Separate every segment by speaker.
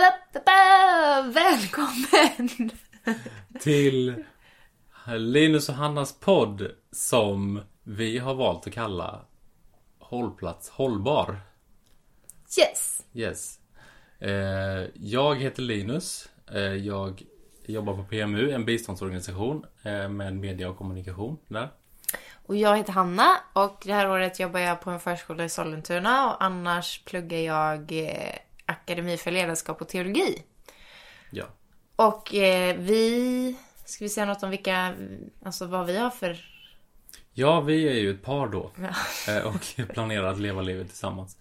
Speaker 1: Ba-da-ba-ba-ba-ba. Välkommen!
Speaker 2: till Linus och Hannas podd som vi har valt att kalla Hållplats Hållbar.
Speaker 1: Yes!
Speaker 2: Yes. Eh, Jag heter Linus. Eh, Jag jobbar på PMU, en biståndsorganisation eh, med media och kommunikation där.
Speaker 1: Och jag heter Hanna och det här året jobbar jag på en förskola i Sollentuna och annars pluggar jag eh, akademi för ledarskap och teologi.
Speaker 2: Ja.
Speaker 1: Och eh, vi... Ska vi säga något om vilka... Alltså vad vi har för...
Speaker 2: ja, vi är ju ett par då eh, och planerar att leva livet tillsammans.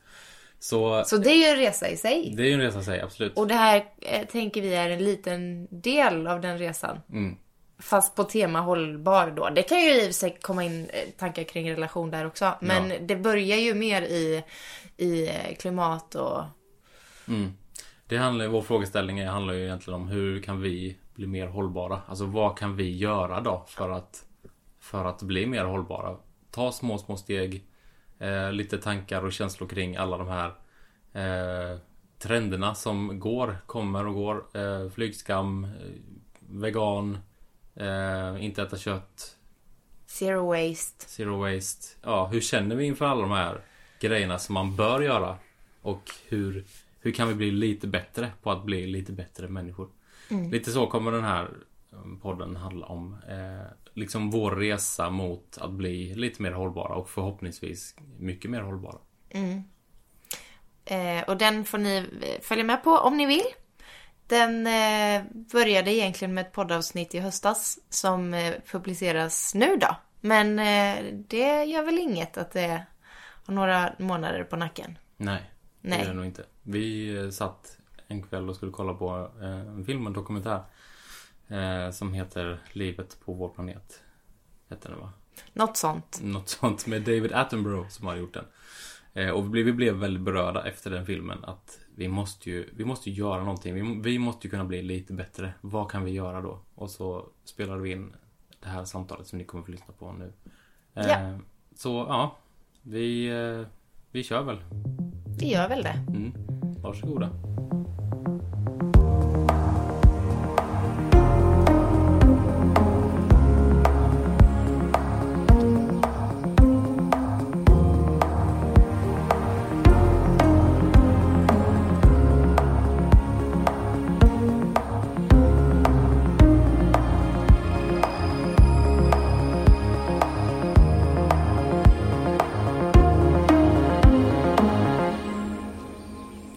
Speaker 2: Så
Speaker 1: Så det är ju en resa i sig.
Speaker 2: det är ju en resa i sig, absolut.
Speaker 1: Och det här eh, tänker vi är en liten del av den resan.
Speaker 2: Mm.
Speaker 1: Fast på tema hållbar då. Det kan ju i och för sig komma in eh, tankar kring relation där också. Men
Speaker 2: Ja.
Speaker 1: det börjar ju mer i, i eh, klimat och...
Speaker 2: Mm. Det handlar, vår frågeställning är- handlar ju egentligen om hur kan vi bli mer hållbara? Alltså vad kan vi göra då för att, för att bli mer hållbara? Ta små, små steg. Eh, lite tankar och känslor kring alla de här eh, trenderna som går, kommer och går. Eh, flygskam, eh, vegan, eh, inte äta kött,
Speaker 1: Zero waste.
Speaker 2: zero waste. Ja, hur känner vi inför alla de här grejerna som man bör göra? Och hur, hur kan vi bli lite bättre på att bli lite bättre människor? Lite så kommer den här eh, podden handla om. Eh, liksom vår resa mot att bli lite mer hållbara och förhoppningsvis mycket mer hållbara.
Speaker 1: Eh, och den får ni eh, följa med på om ni vill. Den eh, började egentligen med ett poddavsnitt i höstas som eh, publiceras nu då. Men eh, det gör väl inget att det har några månader på nacken.
Speaker 2: Nej, det
Speaker 1: Nej.
Speaker 2: är det nog inte. Vi eh, satt en kväll och skulle kolla på eh, en film, en dokumentär. Eh, som heter Livet på vår planet. Hette den va?
Speaker 1: Något sånt.
Speaker 2: Något sånt med David Attenborough som har gjort den. Eh, Och vi blev, vi blev väldigt berörda efter den filmen att vi måste ju, vi måste ju göra någonting. Vi, må- vi måste ju kunna bli lite bättre. Vad kan vi göra då? Och så spelade vi in det här samtalet som ni kommer få lyssna på nu. Eh,
Speaker 1: Ja.
Speaker 2: Så ja, vi, eh, vi kör väl.
Speaker 1: Det gör väl det.
Speaker 2: Mm. Varsågoda.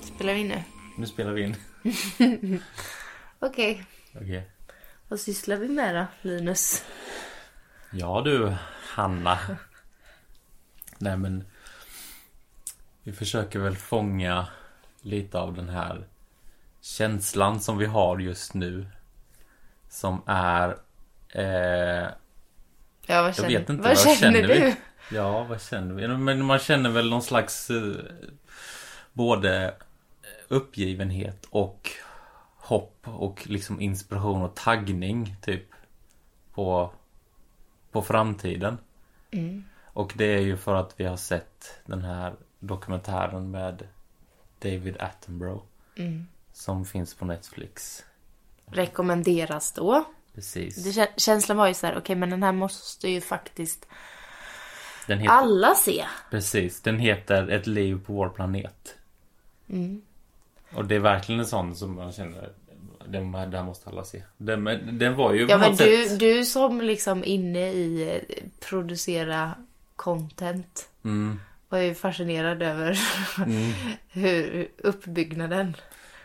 Speaker 1: Spelar vi in nu?
Speaker 2: Nu spelar vi in.
Speaker 1: Okej.
Speaker 2: Okej.
Speaker 1: Vad sysslar vi med då, Linus?
Speaker 2: Ja du, Hanna. Nej men. Vi försöker väl fånga lite av den här känslan som vi har just nu. Som är... Eh,
Speaker 1: Ja, vad
Speaker 2: jag
Speaker 1: känner,
Speaker 2: vet inte,
Speaker 1: vad känner, du?
Speaker 2: vi? Ja, vad känner vi? Men man känner väl någon slags eh, både uppgivenhet och hopp och liksom inspiration och taggning typ på, på framtiden.
Speaker 1: Mm.
Speaker 2: Och det är ju för att vi har sett den här dokumentären med David Attenborough
Speaker 1: Mm.
Speaker 2: som finns på Netflix.
Speaker 1: Rekommenderas då.
Speaker 2: Precis.
Speaker 1: Det, kä- känslan var ju så här, okej men den här måste ju faktiskt
Speaker 2: Den heter,
Speaker 1: alla se.
Speaker 2: Precis, den heter Ett liv på vår planet.
Speaker 1: Mm.
Speaker 2: Och det är verkligen en sån som man känner, den, här- den här måste alla se. Den, men den var ju
Speaker 1: Ja
Speaker 2: på
Speaker 1: men
Speaker 2: något
Speaker 1: du,
Speaker 2: sätt...
Speaker 1: du som liksom inne i eh, producera content
Speaker 2: Mm.
Speaker 1: var ju fascinerad över hur uppbyggnaden.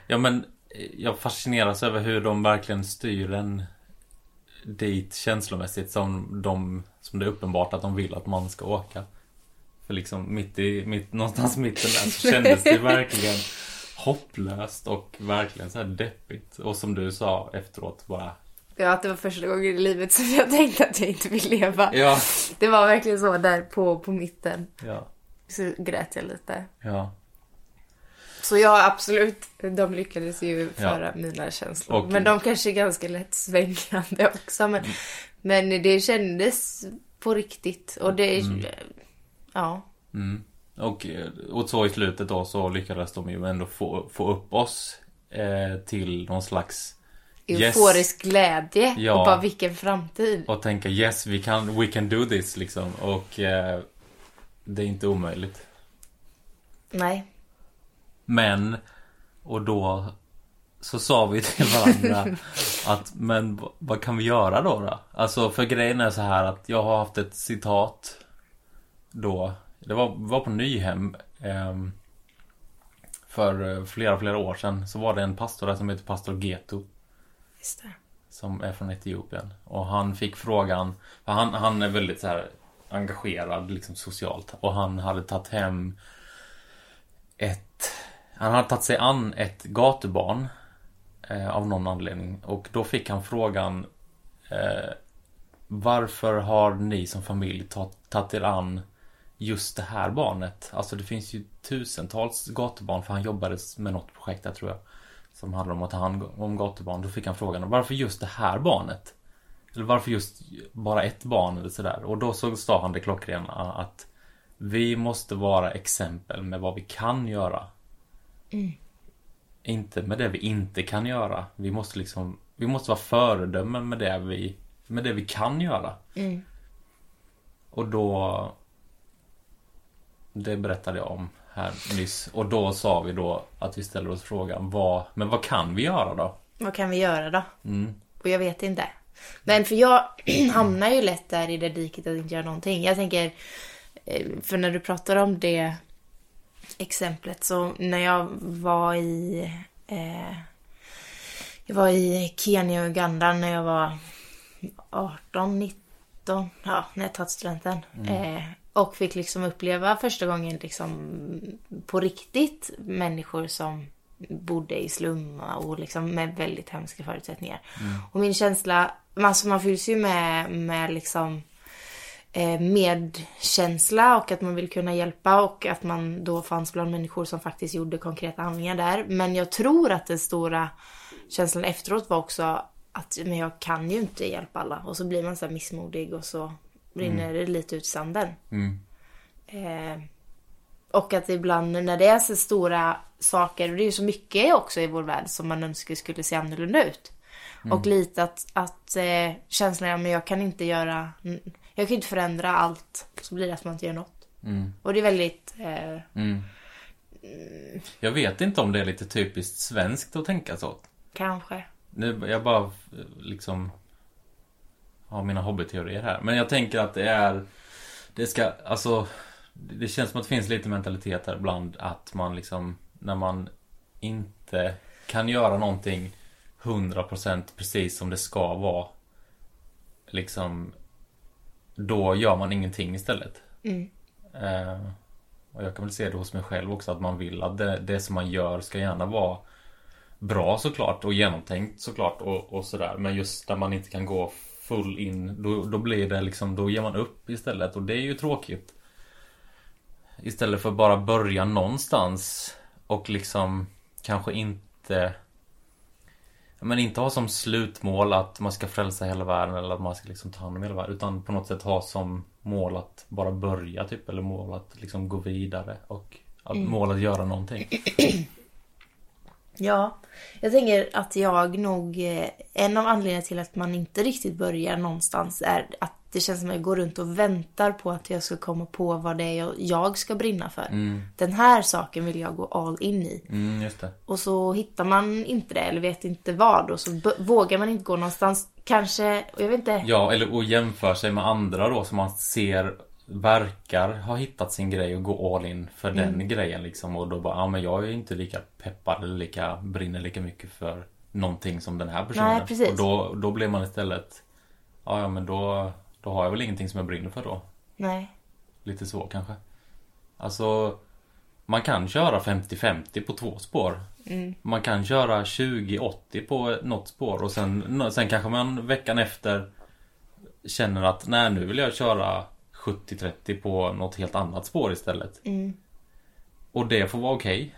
Speaker 2: Ja men eh, jag fascineras över hur de verkligen styr den dit känslomässigt som, de, som det är uppenbart att de vill att man ska åka. För liksom mitt i, mitt, någonstans mitten där så kändes det verkligen hopplöst och verkligen så här deppigt. Och som du sa efteråt bara
Speaker 1: Ja att det var första gången i livet som jag tänkte att jag inte vill leva.
Speaker 2: Ja.
Speaker 1: Det var verkligen så där på, på mitten.
Speaker 2: Ja.
Speaker 1: Så grät jag lite.
Speaker 2: ja.
Speaker 1: Så ja, absolut. De lyckades ju föra mina känslor.
Speaker 2: Och- Mm.
Speaker 1: men de kanske är ganska lätt svängande också. Men, men det kändes på riktigt. Och det... Ja.
Speaker 2: Mm. Och, eh, och så i slutet då så lyckades de ju ändå få, få upp oss eh, till någon slags yes.
Speaker 1: Euforisk glädje
Speaker 2: Ja.
Speaker 1: och bara vilken framtid.
Speaker 2: Och tänka yes, vi kan, we can do this liksom. Och eh, det är inte omöjligt.
Speaker 1: Nej.
Speaker 2: Men, och då så sa vi till varandra att men v- vad kan vi göra då? då? Alltså för grejen är så här att jag har haft ett citat då. Det var, var på Nyhem. ehm, för eh, flera, flera år sedan så var det en pastor där som heter pastor Geto.
Speaker 1: Just det.
Speaker 2: Som är från Etiopien. Och han fick frågan, för han, han är väldigt så här engagerad liksom socialt. Och han hade tagit hem ett, han hade tagit sig an ett gatubarn. Eh, av någon anledning. Och då fick han frågan eh, Varför har ni som familj ta- tagit er an just det här barnet? Alltså det finns ju tusentals gatubarn för han jobbade med något projekt där tror jag som handlar om att ta hand om gatubarn. Då fick han frågan varför just det här barnet? Eller varför just bara ett barn eller sådär? Och då så sa han det klockrena att vi måste vara exempel med vad vi kan göra. Inte med det vi inte kan göra. Vi måste liksom, vi måste vara föredömen med det vi, med det vi kan göra. Och då det berättade jag om här nyss. Och då sa vi då att vi ställer oss frågan vad, men vad kan vi göra då?
Speaker 1: Vad kan vi göra då?
Speaker 2: Mm.
Speaker 1: Och jag vet inte. Men för jag hamnar ju lätt där i det diket att inte göra någonting. Jag tänker, eh, för när du pratar om det exemplet så när jag var i eh, jag var i Kenya och Uganda när jag var 18, 19, ja, när jag tagit studenten. Eh, och fick liksom uppleva första gången liksom på riktigt människor som bodde i slum och liksom med väldigt hemska förutsättningar. Och min känsla, alltså man fylls ju med, med liksom eh, medkänsla och att man vill kunna hjälpa och att man då fanns bland människor som faktiskt gjorde konkreta handlingar där. Men jag tror att den stora känslan efteråt var också att men jag kan ju inte hjälpa alla och så blir man så här missmodig och så rinner det lite ut i sanden.
Speaker 2: Mm.
Speaker 1: Eh, och att ibland när det är så stora saker, och det är ju så mycket också i vår värld som man önskar skulle se annorlunda ut. Och lite att, att eh, känslan är att jag kan inte göra, jag kan inte förändra allt. Så blir det att man inte gör något.
Speaker 2: Mm.
Speaker 1: Och det är väldigt, eh,
Speaker 2: Mm. Jag vet inte om det är lite typiskt svenskt att tänka så.
Speaker 1: kanske.
Speaker 2: Nu, jag bara eh, liksom har mina hobbyteorier här. Men jag tänker att det är Det ska, alltså Det det känns som att det finns lite mentalitet här ibland att man liksom När man inte kan göra någonting 100% precis som det ska vara Liksom Då gör man ingenting istället.
Speaker 1: Mm.
Speaker 2: Eh, och jag kan väl se det hos mig själv också att man vill att det, det som man gör ska gärna vara bra såklart och genomtänkt såklart och, och sådär. Men just där man inte kan gå full in då, då blir det liksom, då ger man upp istället och det är ju tråkigt. Istället för att bara börja någonstans och liksom kanske inte men inte ha som slutmål att man ska frälsa hela världen eller att man ska liksom ta hand om hela världen utan på något sätt ha som mål att bara börja typ eller mål att liksom gå vidare och att mål att göra någonting.
Speaker 1: Ja, jag tänker att jag nog, eh, en av anledningarna till att man inte riktigt börjar någonstans är att det känns som att jag går runt och väntar på att jag ska komma på vad det är jag, jag ska brinna för. Den här saken vill jag gå all in i.
Speaker 2: Mm, just det.
Speaker 1: Och så hittar man inte det eller vet inte vad och så b- vågar man inte gå någonstans. Kanske, och jag vet inte.
Speaker 2: Ja, eller och jämför sig med andra då som man ser verkar ha hittat sin grej och gå all in för
Speaker 1: Mm.
Speaker 2: den grejen liksom och då bara, ja men jag är ju inte lika peppad eller lika, brinner lika mycket för någonting som den här personen.
Speaker 1: Nej, precis.
Speaker 2: Och då, då blir man istället, ja ja men då, då har jag väl ingenting som jag brinner för då.
Speaker 1: Nej.
Speaker 2: Lite så kanske. Alltså, man kan köra 50-50 på två spår. Man kan köra 20-80 på något spår och sen, sen kanske man veckan efter känner att nej nu vill jag köra 70-30 på något helt annat spår istället. Och det får vara okej.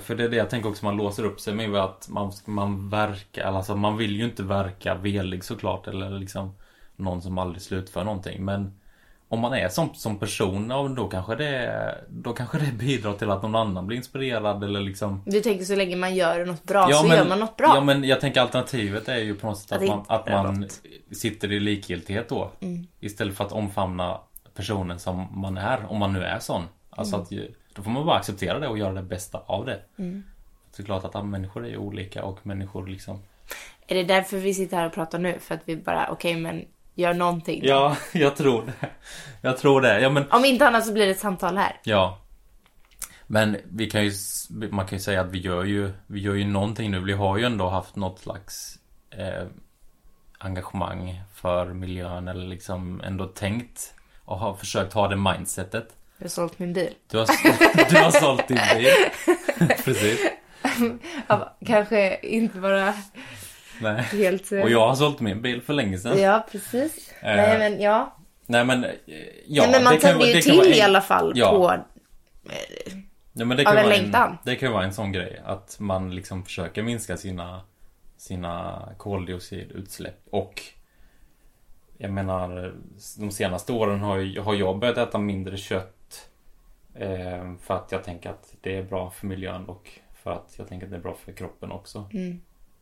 Speaker 2: För det är det jag tänker också man låser upp sig med att man, man verkar, alltså man vill ju inte verka velig såklart eller liksom någon som aldrig slutför någonting men om man är som, som person, ja, men då, kanske det, då kanske det bidrar till att någon annan blir inspirerad eller liksom...
Speaker 1: Du tänker så länge man gör något bra så gör man något bra.
Speaker 2: Ja men jag tänker alternativet är ju på något sätt
Speaker 1: Att
Speaker 2: att, man,
Speaker 1: inte
Speaker 2: att
Speaker 1: göra
Speaker 2: man
Speaker 1: något.
Speaker 2: sitter i likgiltighet då.
Speaker 1: Mm.
Speaker 2: Istället för att omfamna personen som man är, om man nu är sån. Alltså
Speaker 1: Mm.
Speaker 2: att ju, då får man bara acceptera det och göra det bästa av det. Så det är klart att alla människor är ju olika och människor liksom...
Speaker 1: Är det därför vi sitter här och pratar nu? För att vi bara, okej men gör någonting.
Speaker 2: Ja, jag tror det. Jag tror det. Ja men
Speaker 1: Om inte annat så blir det ett samtal här.
Speaker 2: Ja. Men vi kan ju, s- man kan ju säga att vi gör ju, vi gör ju någonting nu. Vi har ju ändå haft något slags eh, engagemang för miljön eller liksom ändå tänkt och har försökt ha det mindsetet.
Speaker 1: Jag har sålt min bil.
Speaker 2: Du har, sålt- du har sålt din bil. Precis.
Speaker 1: Ja, kanske inte bara
Speaker 2: Nej.
Speaker 1: helt... eh,
Speaker 2: Och jag har sålt min bil för länge sedan.
Speaker 1: Ja, precis.
Speaker 2: Eh,
Speaker 1: Nej men ja.
Speaker 2: Nej men... eh, Ja,
Speaker 1: Nej, men man
Speaker 2: det kan
Speaker 1: tänder
Speaker 2: vara-
Speaker 1: ju
Speaker 2: det kan vara
Speaker 1: till
Speaker 2: en-
Speaker 1: i alla fall
Speaker 2: Ja.
Speaker 1: på...
Speaker 2: Ja, men det
Speaker 1: av
Speaker 2: kan,
Speaker 1: en
Speaker 2: vara
Speaker 1: längtan.
Speaker 2: en, det kan ju vara en sån grej att man liksom försöker minska sina, sina koldioxidutsläpp och jag menar de senaste åren har, ju- har jag börjat äta mindre kött eh, för att jag tänker att det är bra för miljön och för att jag tänker att det är bra för kroppen också.
Speaker 1: Mm.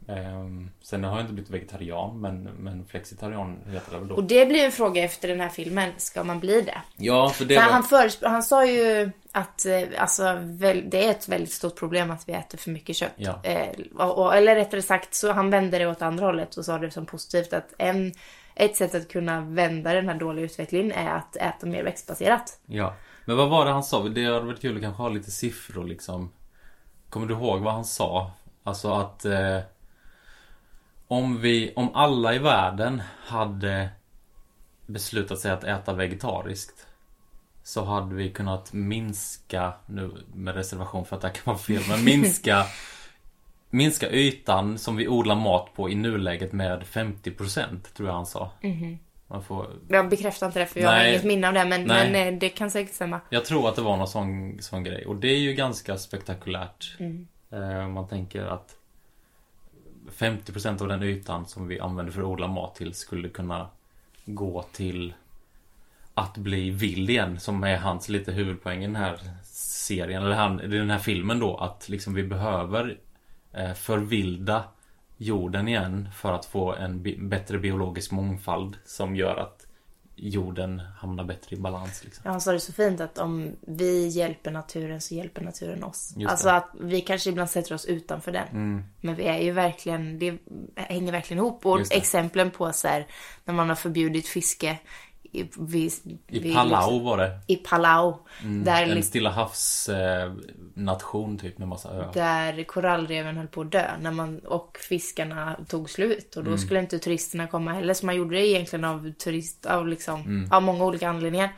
Speaker 2: Eh, sen har jag inte blivit vegetarian men, men flexitarian heter det väl
Speaker 1: Och
Speaker 2: då?
Speaker 1: det blir en fråga efter den här filmen. Ska man bli det?
Speaker 2: Ja, för det
Speaker 1: För
Speaker 2: var...
Speaker 1: han, föresp- han sa ju att eh, alltså, väl, det är ett väldigt stort problem att vi äter för mycket kött.
Speaker 2: Ja.
Speaker 1: Eh, och, och, eller rättare sagt, så han vände det åt andra hållet och sa det som positivt att en, ett sätt att kunna vända den här dåliga utvecklingen är att äta mer växtbaserat.
Speaker 2: Ja, men vad var det han sa? Det hade varit kul att kanske ha lite siffror liksom. Kommer du ihåg vad han sa? Alltså att eh, om, vi, om alla i världen hade beslutat sig att äta vegetariskt så hade vi kunnat minska, nu med reservation för att det här kan vara fel, men minska Minska ytan som vi odlar mat på i nuläget med 50% tror jag han sa. Man får
Speaker 1: Jag bekräftar inte det för jag har
Speaker 2: Nej.
Speaker 1: inget minne av det men,
Speaker 2: Nej.
Speaker 1: men eh, det kan säkert stämma.
Speaker 2: jag tror att det var någon sån, sån grej och det är ju ganska spektakulärt. Eh, om man tänker att 50% av den ytan som vi använder för att odla mat till skulle kunna gå till att bli vild igen som är hans lite huvudpoäng i den här serien eller han, i den här filmen då att liksom vi behöver eh, förvilda jorden igen för att få en bi- bättre biologisk mångfald som gör att jorden hamnar bättre i balans. Liksom.
Speaker 1: Ja, han sa det så fint att om vi hjälper naturen så hjälper naturen oss.
Speaker 2: Just
Speaker 1: alltså
Speaker 2: det. Mm.
Speaker 1: att vi kanske ibland sätter oss utanför den. Men vi är ju verkligen, det hänger verkligen ihop. Och
Speaker 2: Just det.
Speaker 1: exemplen på så här, när man har förbjudit fiske i, vid,
Speaker 2: I
Speaker 1: vid-
Speaker 2: Palau var det. Mm.
Speaker 1: I Palau. liksom- där,
Speaker 2: En
Speaker 1: liksom,
Speaker 2: Stilla havs eh, nation typ med massa öar.
Speaker 1: där korallreven höll på att dö när man, och fiskarna tog slut. Och då skulle inte turisterna komma heller. Så man gjorde det egentligen av, turist, av, liksom, av många olika anledningar.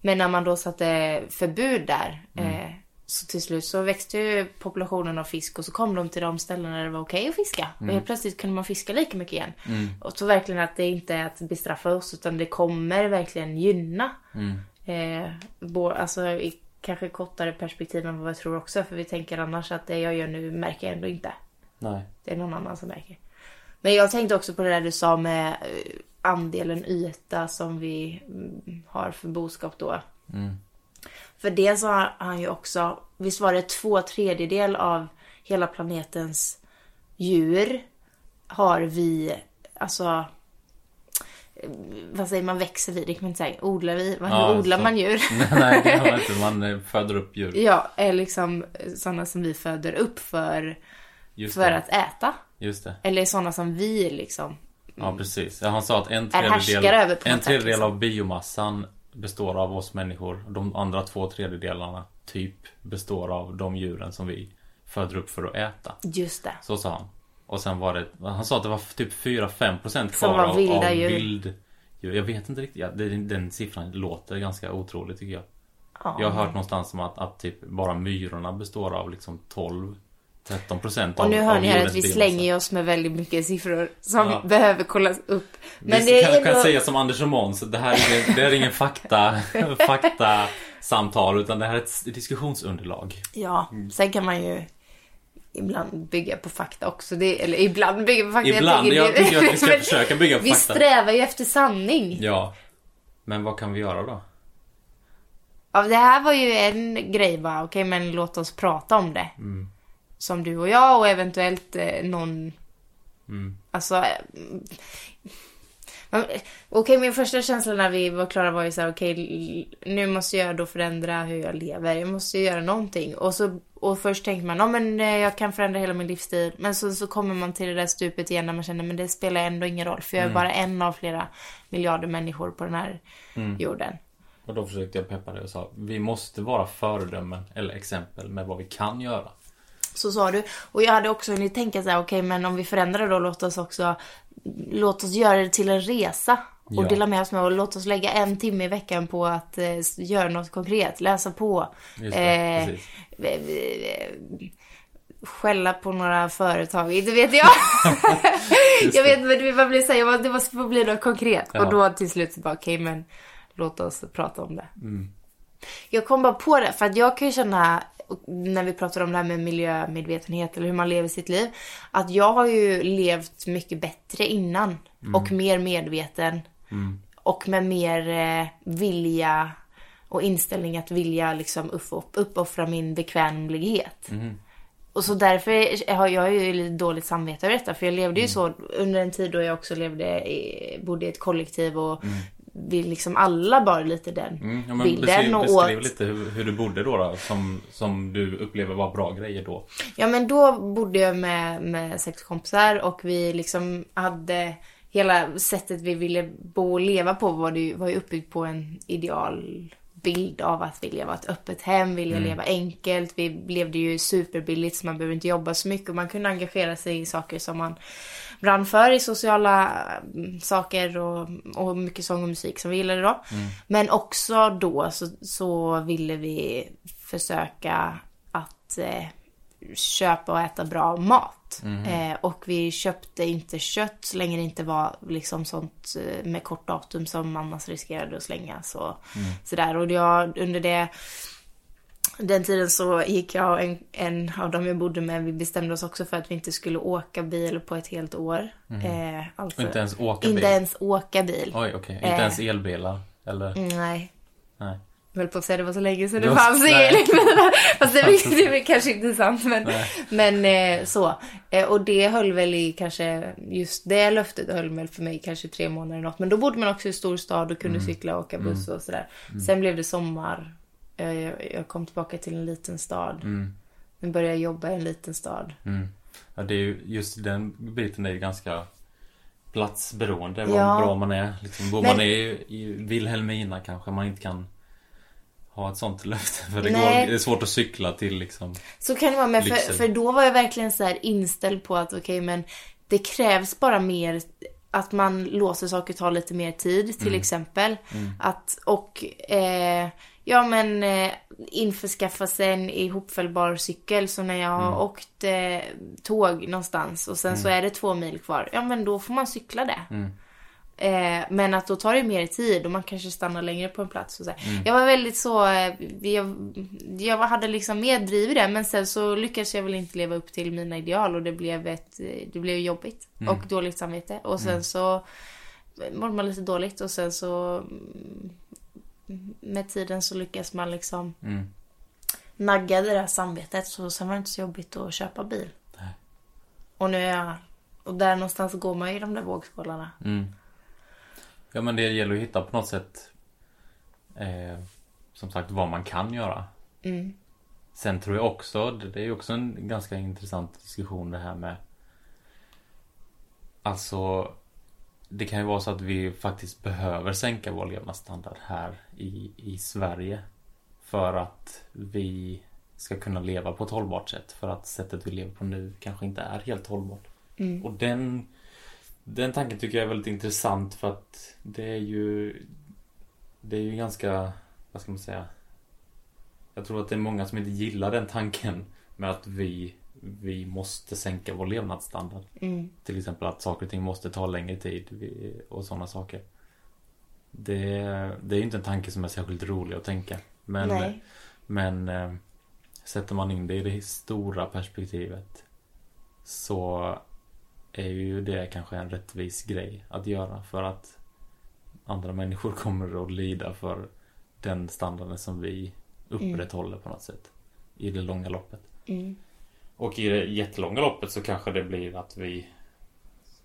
Speaker 1: Men när man då satte förbud där. Eh, så till slut så växte ju populationen av fisk och så kom de till de ställen där det var okej att fiska. Och helt plötsligt kunde man fiska lika mycket igen.
Speaker 2: Mm,
Speaker 1: Och så verkligen att det inte är att bestraffa oss utan det kommer verkligen gynna.
Speaker 2: mm.
Speaker 1: Eh, bo, alltså i kanske kortare perspektiv än vad jag tror också. För vi tänker annars att det jag gör nu märker jag ändå inte.
Speaker 2: Nej.
Speaker 1: Det är någon annan som märker. Men jag tänkte också på det där du sa med eh, andelen yta som vi mm, har för boskap då.
Speaker 2: Mm.
Speaker 1: För det så har han ju också, visst var det två tredjedel av hela planetens djur har vi, alltså eh, vad säger man, växer vi? Det kan man inte säga. Odlar vi? Vad-
Speaker 2: Ja,
Speaker 1: Hur odlar
Speaker 2: så-
Speaker 1: man djur?
Speaker 2: Nej, det gör man inte. Man eh, föder upp djur.
Speaker 1: ja, är liksom sådana som vi föder upp för,
Speaker 2: Just
Speaker 1: för
Speaker 2: det.
Speaker 1: att äta.
Speaker 2: Just det.
Speaker 1: Eller sådana som vi liksom
Speaker 2: Ja, precis. Ja, Han sa att en
Speaker 1: härskare över
Speaker 2: tredjedel,
Speaker 1: på
Speaker 2: en
Speaker 1: något sätt,
Speaker 2: tredjedel
Speaker 1: liksom.
Speaker 2: av biomassan består av oss människor. De andra två tredjedelarna typ består av de djuren som vi föder upp för att äta.
Speaker 1: Just det.
Speaker 2: Så sa han. Och sen var det, han sa att det var typ 4-5%
Speaker 1: Som
Speaker 2: kvar
Speaker 1: var
Speaker 2: av,
Speaker 1: vilda
Speaker 2: av
Speaker 1: djur.
Speaker 2: vilddjur. Jag vet inte riktigt. Ja, det, den siffran låter ganska otrolig tycker jag.
Speaker 1: Ja.
Speaker 2: Jag har hört någonstans om att, att typ bara myrorna består av liksom 12-13 procent av
Speaker 1: Och nu hör
Speaker 2: av alltså.
Speaker 1: ni här att
Speaker 2: jordens
Speaker 1: vi
Speaker 2: biomassa.
Speaker 1: slänger ju oss med väldigt mycket siffror som
Speaker 2: Ja.
Speaker 1: behöver kollas upp. Men
Speaker 2: vi
Speaker 1: det
Speaker 2: kan,
Speaker 1: är
Speaker 2: kan
Speaker 1: ändå...
Speaker 2: säga som Anders och Måns, det här är ingen, det här är ingen fakta, fakta samtal utan det här är ett diskussionsunderlag.
Speaker 1: Ja,
Speaker 2: Mm.
Speaker 1: sen kan man ju ibland bygga på fakta också. Det, eller ibland bygga på fakta.
Speaker 2: Ibland, jag
Speaker 1: det-
Speaker 2: tycker att vi ska
Speaker 1: Men
Speaker 2: försöka bygga på
Speaker 1: Vi
Speaker 2: fakta.
Speaker 1: strävar ju efter sanning.
Speaker 2: Ja. Men vad kan vi göra då?
Speaker 1: Ja, det här var ju en grej bara. Okej, men låt oss prata om det. Som du och jag och eventuellt eh, någon...
Speaker 2: Mm.
Speaker 1: Alltså... eh, mm. Men, Okej, min första känsla när vi var klara var ju så här, okej, l- nu måste jag då förändra hur jag lever. Jag måste ju göra någonting. Och, så, och först tänker man, ja men eh, jag kan förändra hela min livsstil. Men så, så kommer man till det där stupet igen när man känner, men det spelar ändå ingen roll. För jag är bara en av flera miljarder människor på den här jorden.
Speaker 2: Och då försökte jag peppa dig och sa vi måste vara föredömen eller exempel med vad vi kan göra.
Speaker 1: Så sa du. Och jag hade också hunnit tänka så här, okej men om vi förändrar då, låt oss också, låt oss göra det till en resa. Och
Speaker 2: Ja.
Speaker 1: dela med oss med och låt oss lägga en timme i veckan på att eh, s- göra något konkret, läsa på.
Speaker 2: Just det,
Speaker 1: eh,
Speaker 2: precis.
Speaker 1: v- v- v- skälla på några företag, inte vet jag. jag vet men det var blir så här, jag bara, det måste få bli något konkret.
Speaker 2: Ja.
Speaker 1: Och då till slut så bara okej men låt oss prata om det. Jag kom bara på det, för att jag kan ju känna och när vi pratar om det här med miljömedvetenhet eller hur man lever sitt liv. Att jag har ju levt mycket bättre innan och mer medveten. Och med mer eh, vilja och inställning att vilja liksom upp, uppoffra min bekvämlighet. Och så därför har jag ju lite dåligt samvete över detta. För jag levde ju så under en tid då jag också levde i, bodde i ett kollektiv och vi liksom alla bar lite den
Speaker 2: Mm, ja, men
Speaker 1: bilden
Speaker 2: beskriv,
Speaker 1: och åt.
Speaker 2: beskriv lite hur, hur du bodde då, då som, som du upplever var bra grejer då.
Speaker 1: Ja men då bodde jag med, med sex kompisar och vi liksom hade hela sättet vi ville bo och leva på var, det, ju- var ju uppbyggt på en idealbild av att vilja vara ett öppet hem, vilja leva enkelt. Vi levde ju superbilligt så man behövde inte jobba så mycket och man kunde engagera sig i saker som man brann för i sociala mm, saker och, och mycket sång och musik som vi gillade då. Men också då så, så ville vi försöka att eh, köpa och äta bra mat.
Speaker 2: Mhm.
Speaker 1: Eh, och vi köpte inte kött så länge det inte var liksom sånt eh, med kort datum som annars riskerade att slängas och
Speaker 2: Mm.
Speaker 1: sådär. Och jag under det den tiden så gick jag och en, en av dem jag bodde med, vi bestämde oss också för att vi inte skulle åka bil på ett helt år. Eh, alltså,
Speaker 2: Mhm. Inte ens åka
Speaker 1: inte
Speaker 2: bil.
Speaker 1: ens åka bil.
Speaker 2: Oj, okej. Inte
Speaker 1: Eh.
Speaker 2: ens elbilar. Eller?
Speaker 1: Nej,
Speaker 2: Nej.
Speaker 1: jag höll på att säga det var så länge sedan
Speaker 2: Det
Speaker 1: det
Speaker 2: var-
Speaker 1: fanns
Speaker 2: nej.
Speaker 1: elbilar. Fast det är, det är kanske inte sant men, men eh, så. Eh, Och det höll väl i kanske, just det löftet höll väl för mig kanske tre månader eller något. Men då bodde man också i stor stad och
Speaker 2: Mm.
Speaker 1: kunde cykla och åka buss och sådär. Sen blev det sommar. Eh, Jag, jag kom tillbaka till en liten stad. Sen började jag jobba i en liten stad.
Speaker 2: Mm. Ja, det är ju, just den biten är ju ganska platsberoende. Vad
Speaker 1: Ja.
Speaker 2: bra man är. Liksom, bor
Speaker 1: Men-
Speaker 2: man i, i Vilhelmina kanske man inte kan ha ett sånt löfte. För det, går,
Speaker 1: Nej.
Speaker 2: det är svårt att cykla till liksom.
Speaker 1: Så kan det vara, men för,
Speaker 2: Lyxen.
Speaker 1: för då var jag verkligen så här inställd på att okej men det krävs bara mer att man låter saker ta lite mer tid till exempel. Att, och eh, ja men eh, införskaffa sig en ihopfällbar cykel. Så när jag har åkt eh, tåg någonstans och sen så är det två mil kvar. Ja men då får man cykla det.
Speaker 2: Mm,
Speaker 1: Eh, men att då tar det mer tid och man kanske stannar längre på en plats. Och så här.
Speaker 2: Mm.
Speaker 1: Jag var väldigt så, eh, jag, jag hade liksom mer driv i det men sen så lyckades jag väl inte leva upp till mina ideal och det blev, ett, eh, det blev jobbigt
Speaker 2: Mm.
Speaker 1: och dåligt samvete. Och sen så mådde man lite dåligt och sen så mm, med tiden så lyckas man liksom
Speaker 2: Mm.
Speaker 1: nagga det där samvetet så sen var det inte så jobbigt att köpa bil.
Speaker 2: Nej.
Speaker 1: Och nu är jag, och där någonstans går man ju i de där vågskålarna.
Speaker 2: Mm. Ja men det gäller att hitta på något sätt eh, Som sagt vad man kan göra.
Speaker 1: Mm.
Speaker 2: Sen tror jag också, det det är ju också en ganska intressant diskussion det här med Alltså Det kan ju vara så att vi faktiskt behöver sänka vår levnadsstandard här i, i Sverige För att vi ska kunna leva på ett hållbart sätt för att sättet vi lever på nu kanske inte är helt hållbart. Och den Den tanken tycker jag är väldigt intressant för att det är ju Det är ju ganska, vad ska man säga jag tror att det är många som inte gillar den tanken med att vi, vi måste sänka vår levnadsstandard.
Speaker 1: Mm.
Speaker 2: Till exempel att saker och ting måste ta längre tid vi- och sådana saker. Det, det är ju inte en tanke som är särskilt rolig att tänka. Men,
Speaker 1: Nej.
Speaker 2: men eh, sätter man in det i det stora perspektivet så är ju det kanske en rättvis grej att göra för att andra människor kommer att lida för den standarden som vi upprätthåller på något sätt. I det långa loppet.
Speaker 1: Mm.
Speaker 2: Och i det jättelånga loppet så kanske det blir att vi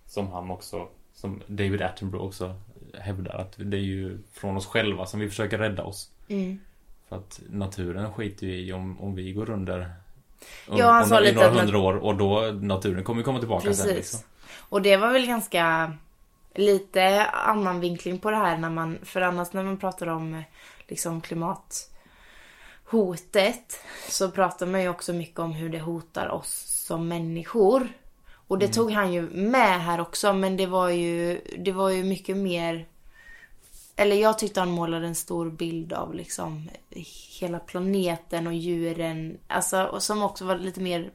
Speaker 2: Som han också Som David Attenborough också Hävdar att det är ju från oss själva som vi försöker rädda oss
Speaker 1: Mm.
Speaker 2: För att naturen skiter ju i om, om vi går under om,
Speaker 1: Ja, han sa
Speaker 2: om, I
Speaker 1: lite
Speaker 2: några
Speaker 1: att nat-
Speaker 2: hundra år och då naturen kommer komma tillbaka sen liksom.
Speaker 1: Precis. Och det var väl ganska lite annan vinkling på det här när man, för annars när man pratar om eh, liksom klimathotet så pratar man ju också mycket om hur det hotar oss som människor. Och
Speaker 2: Mm.
Speaker 1: det tog han ju med här också men det var ju, det var ju mycket mer eller jag tyckte han målade en stor bild av liksom hela planeten och djuren. Alltså, och som också var lite mer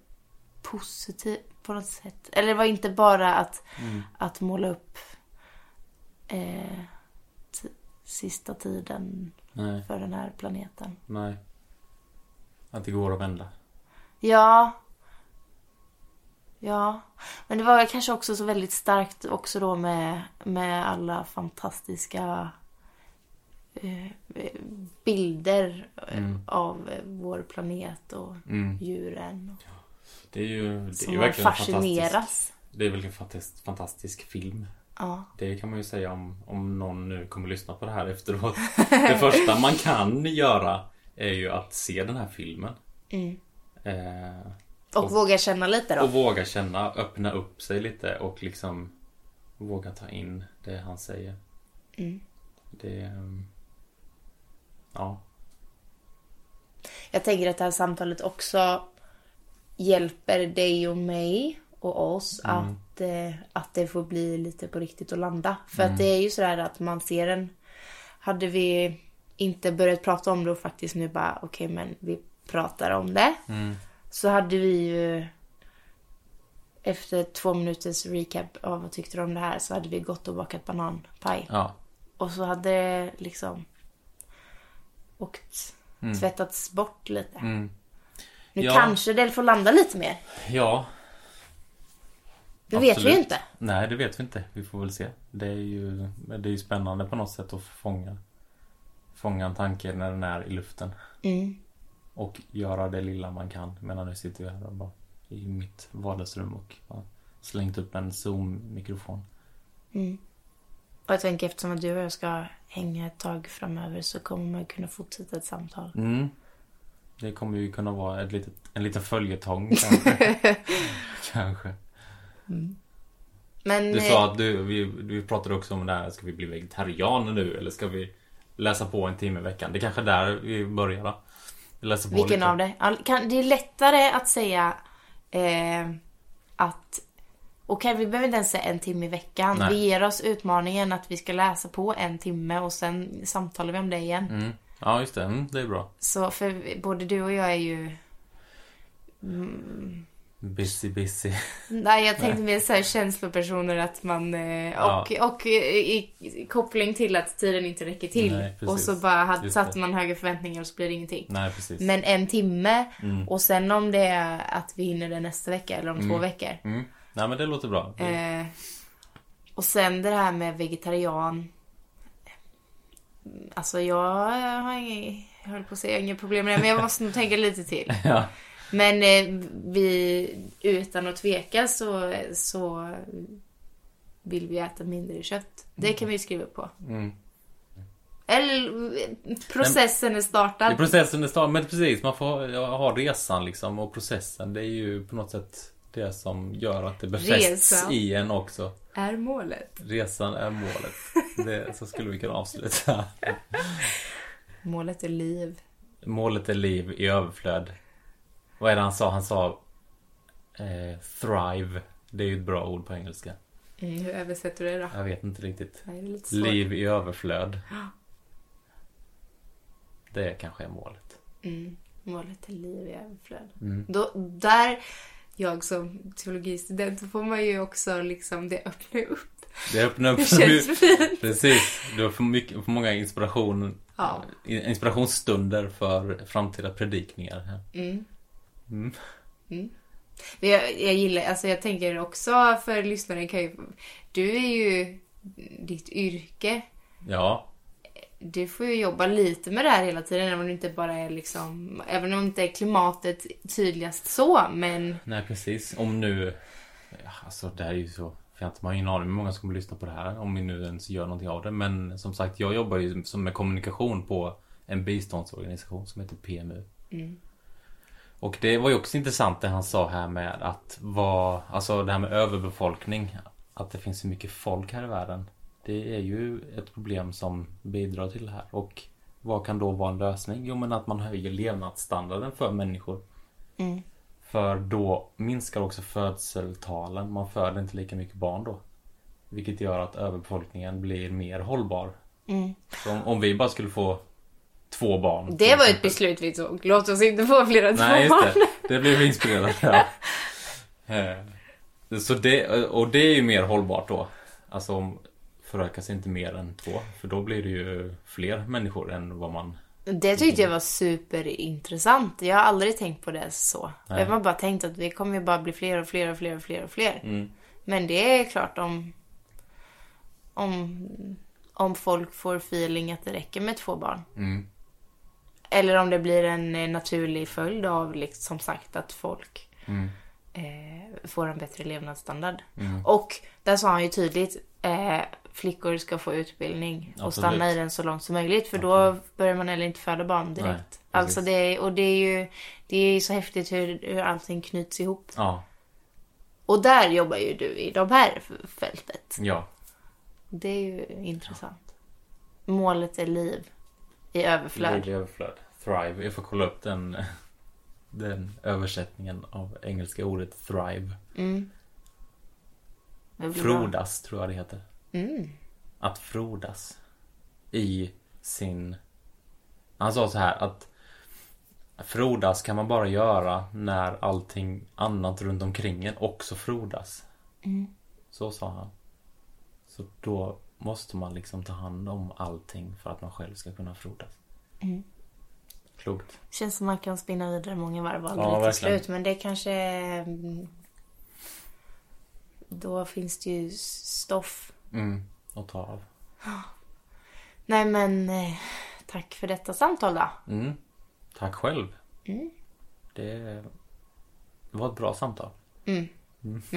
Speaker 1: positiv på något sätt. Eller det var inte bara att,
Speaker 2: Mm.
Speaker 1: att måla upp eh, t- sista tiden
Speaker 2: Nej,
Speaker 1: för den här planeten.
Speaker 2: nej. Att det går att vända.
Speaker 1: Ja. Ja. Men det var kanske också så väldigt starkt också då med, med alla fantastiska eh, bilder eh,
Speaker 2: Mm.
Speaker 1: av eh, vår planet och
Speaker 2: Mm.
Speaker 1: djuren.
Speaker 2: Det är ju, det är
Speaker 1: Som
Speaker 2: ju
Speaker 1: man
Speaker 2: verkligen fantastiskt.
Speaker 1: fascineras.
Speaker 2: Det är väl en fantastisk, fantastisk film.
Speaker 1: Ja.
Speaker 2: Det kan man ju säga om, om någon nu kommer lyssna på det här efteråt. Det första man kan göra är ju att se den här filmen.
Speaker 1: Mm.
Speaker 2: Eh,
Speaker 1: Och,
Speaker 2: Och-
Speaker 1: våga känna lite då.
Speaker 2: och våga känna, öppna upp sig lite och liksom våga ta in det han säger.
Speaker 1: Mm.
Speaker 2: Det... ehm, Ja.
Speaker 1: Jag tänker att det här samtalet också hjälper dig och mig och oss att, eh, att det får bli lite på riktigt och landa. För att det är ju sådär att man ser en... Hade vi inte börjat prata om det och faktiskt nu bara okej men vi pratar om det. Så hade vi ju efter två minuters recap av vad tyckte du om det här så hade vi gått och bakat bananpaj.
Speaker 2: Ja.
Speaker 1: Och så hade det liksom åkt, tvättats bort lite.
Speaker 2: Mm.
Speaker 1: Nu
Speaker 2: Ja.
Speaker 1: kanske det får landa lite mer.
Speaker 2: Ja.
Speaker 1: Det vet vi
Speaker 2: Absolut.
Speaker 1: ju inte.
Speaker 2: Nej, det vet vi inte. Vi får väl se. Det är ju, men det är ju spännande på något sätt att fånga, fånga en tanke när den är i luften.
Speaker 1: Mm.
Speaker 2: Och göra det lilla man kan. Medan nu sitter vi här och bara i mitt vardagsrum och har slängt upp en zoom-mikrofon.
Speaker 1: Och jag tänker eftersom att du och jag ska hänga ett tag framöver så kommer man kunna fortsätta ett samtal.
Speaker 2: Mm. Det kommer ju kunna vara ett litet, en liten följetong kanske. kanske.
Speaker 1: Men
Speaker 2: Du
Speaker 1: eh,
Speaker 2: sa att du, vi, vi pratade också om det här, ska vi bli vegetarianer nu eller ska vi läsa på en timme i veckan? Det är kanske är där vi börjar då. Läsa på
Speaker 1: vilken
Speaker 2: lite.
Speaker 1: av det? All- Kan, det är lättare att säga eh, att Okej, vi behöver inte ens säga en timme i veckan.
Speaker 2: Nej.
Speaker 1: Vi ger oss utmaningen att vi ska läsa på en timme och sen samtalar vi om det igen.
Speaker 2: Mm. Ja, just det. Mm, det är bra.
Speaker 1: Så för både du och jag är ju... mm,
Speaker 2: Busy, busy.
Speaker 1: Nej, jag tänkte mer så här känslopersoner att man... eh,
Speaker 2: Ja.
Speaker 1: Och, och eh, i, i koppling till att tiden inte räcker till.
Speaker 2: Nej, precis.
Speaker 1: och så bara hade,
Speaker 2: Just
Speaker 1: satte
Speaker 2: det.
Speaker 1: man höga förväntningar och så blir det ingenting.
Speaker 2: Nej, precis.
Speaker 1: Men en timme
Speaker 2: Mm.
Speaker 1: och sen om det är att vi hinner det nästa vecka eller om två veckor.
Speaker 2: Mm. Nej, men det låter bra. Det-
Speaker 1: Eh, och sen det här med vegetarian. Alltså jag har inget, jag höll på att säga inga problem med det men jag måste nog tänka lite till.
Speaker 2: Ja.
Speaker 1: Men eh, vi, utan att tveka så, så vill vi äta mindre kött. Det kan vi ju skriva på.
Speaker 2: Mm.
Speaker 1: Eller eh, processen är
Speaker 2: Det är
Speaker 1: startad.
Speaker 2: processen det står, men precis. Man får ha- ha resan liksom och processen. Det är ju på något sätt det som gör att det befästs
Speaker 1: Resan.
Speaker 2: i en också.
Speaker 1: Är målet.
Speaker 2: Resan är målet. Det, så skulle vi kunna avsluta.
Speaker 1: Målet är liv.
Speaker 2: Målet är liv i överflöd. Vad är det han sa? Han sa eh, thrive. Det är ju ett bra ord på engelska.
Speaker 1: Mm, hur översätter du det då?
Speaker 2: Jag vet inte riktigt.
Speaker 1: Det är lite svårt.
Speaker 2: Liv i överflöd. Det kanske är målet.
Speaker 1: Mm, målet är liv i överflöd.
Speaker 2: Mm.
Speaker 1: Då, där, jag som teologistudent, då får man ju också liksom, det öppnar ju upp.
Speaker 2: Det öppnar upp
Speaker 1: Det känns fint.
Speaker 2: Precis. Du har för, mycket, för många inspiration, eh,
Speaker 1: Ja.
Speaker 2: inspirationsstunder för framtida predikningar. här.
Speaker 1: Mm.
Speaker 2: Mm.
Speaker 1: Mm. Men jag, jag gillar, alltså jag tänker också för lyssnaren kan ju, du är ju, ditt yrke
Speaker 2: Ja.
Speaker 1: Du får ju jobba lite med det här hela tiden, även om det inte bara är liksom... Även om inte klimatet tydligast så, men...
Speaker 2: Nej precis. Om nu... ja, Alltså det här är ju så... fjantigt. Man har ju ingen aning hur många som kommer lyssna på det här. Om vi nu ens gör någonting av det. Men som sagt, jag jobbar ju som med kommunikation på en biståndsorganisation som heter PMU. Och det var ju också intressant det han sa här med att vad... Alltså det här med överbefolkning. Att det finns så mycket folk här i världen. Det är ju ett problem som bidrar till det här. Och vad kan då vara en lösning? Jo men att man höjer levnadsstandarden för människor. För då minskar också födseltalen. Man föder inte lika mycket barn då. Vilket gör att överbefolkningen blir mer hållbar. Så om, om vi bara skulle få två barn.
Speaker 1: Det var ju ett beslut vi tog. Låt oss inte få flera
Speaker 2: Nej,
Speaker 1: tvåan.
Speaker 2: just det. Det blev vi inspirerade av. Eh, Så det, och det är ju mer hållbart då. Alltså om förökas inte mer än två. För då blir det ju fler människor än vad man...
Speaker 1: Det tyckte jag var superintressant. Jag har aldrig tänkt på det så. Jag har bara tänkt att vi kommer ju bara bli fler och fler och fler och fler och fler.
Speaker 2: Mm.
Speaker 1: Men det är klart om, om, om folk får feeling att det räcker med två barn. Eller om det blir en eh, naturlig följd av liksom som sagt att folk
Speaker 2: Mm.
Speaker 1: eh, får en bättre levnadsstandard. Och där sa han ju tydligt eh, flickor ska få utbildning och
Speaker 2: Absolut.
Speaker 1: stanna i den så långt som möjligt för då börjar man heller inte föda barn direkt.
Speaker 2: Nej, precis.
Speaker 1: alltså det, är- och det är ju det är ju så häftigt hur, hur allting knyts ihop.
Speaker 2: Ja,
Speaker 1: Och där jobbar ju du i de här f- fältet.
Speaker 2: ja.
Speaker 1: Det är ju intressant. Målet är liv i överflöd.
Speaker 2: Liv i överflöd. Thrive. Jag får kolla upp den, den översättningen av engelska ordet thrive.
Speaker 1: Mm. Det blir bra. Mm.
Speaker 2: Frodas tror jag det heter. Att frodas. I sin... Han sa så här att Frodas kan man bara göra när allting annat runt omkring en också frodas.
Speaker 1: Mm.
Speaker 2: Så sa han. Så då måste man liksom ta hand om allting för att man själv ska kunna frodas. Klokt.
Speaker 1: Mm. Känns som man kan spinna vidare många varv och
Speaker 2: Ja,
Speaker 1: aldrig ta
Speaker 2: verkligen.
Speaker 1: slut. Men det kanske... mm, Då finns det ju stoff.
Speaker 2: Mm. Och ta av.
Speaker 1: Nej men, eh, tack för detta samtal då. Mm.
Speaker 2: Mm. Tack själv. Det var ett bra samtal.
Speaker 1: Men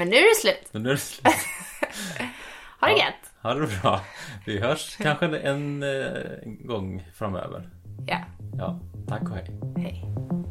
Speaker 1: nu är det slut.
Speaker 2: Men nu är det slut.
Speaker 1: Ha det
Speaker 2: Ja.
Speaker 1: gött.
Speaker 2: Ha det bra. Vi hörs kanske en eh, gång framöver.
Speaker 1: Ja,
Speaker 2: Ja, tack och hej.
Speaker 1: hej.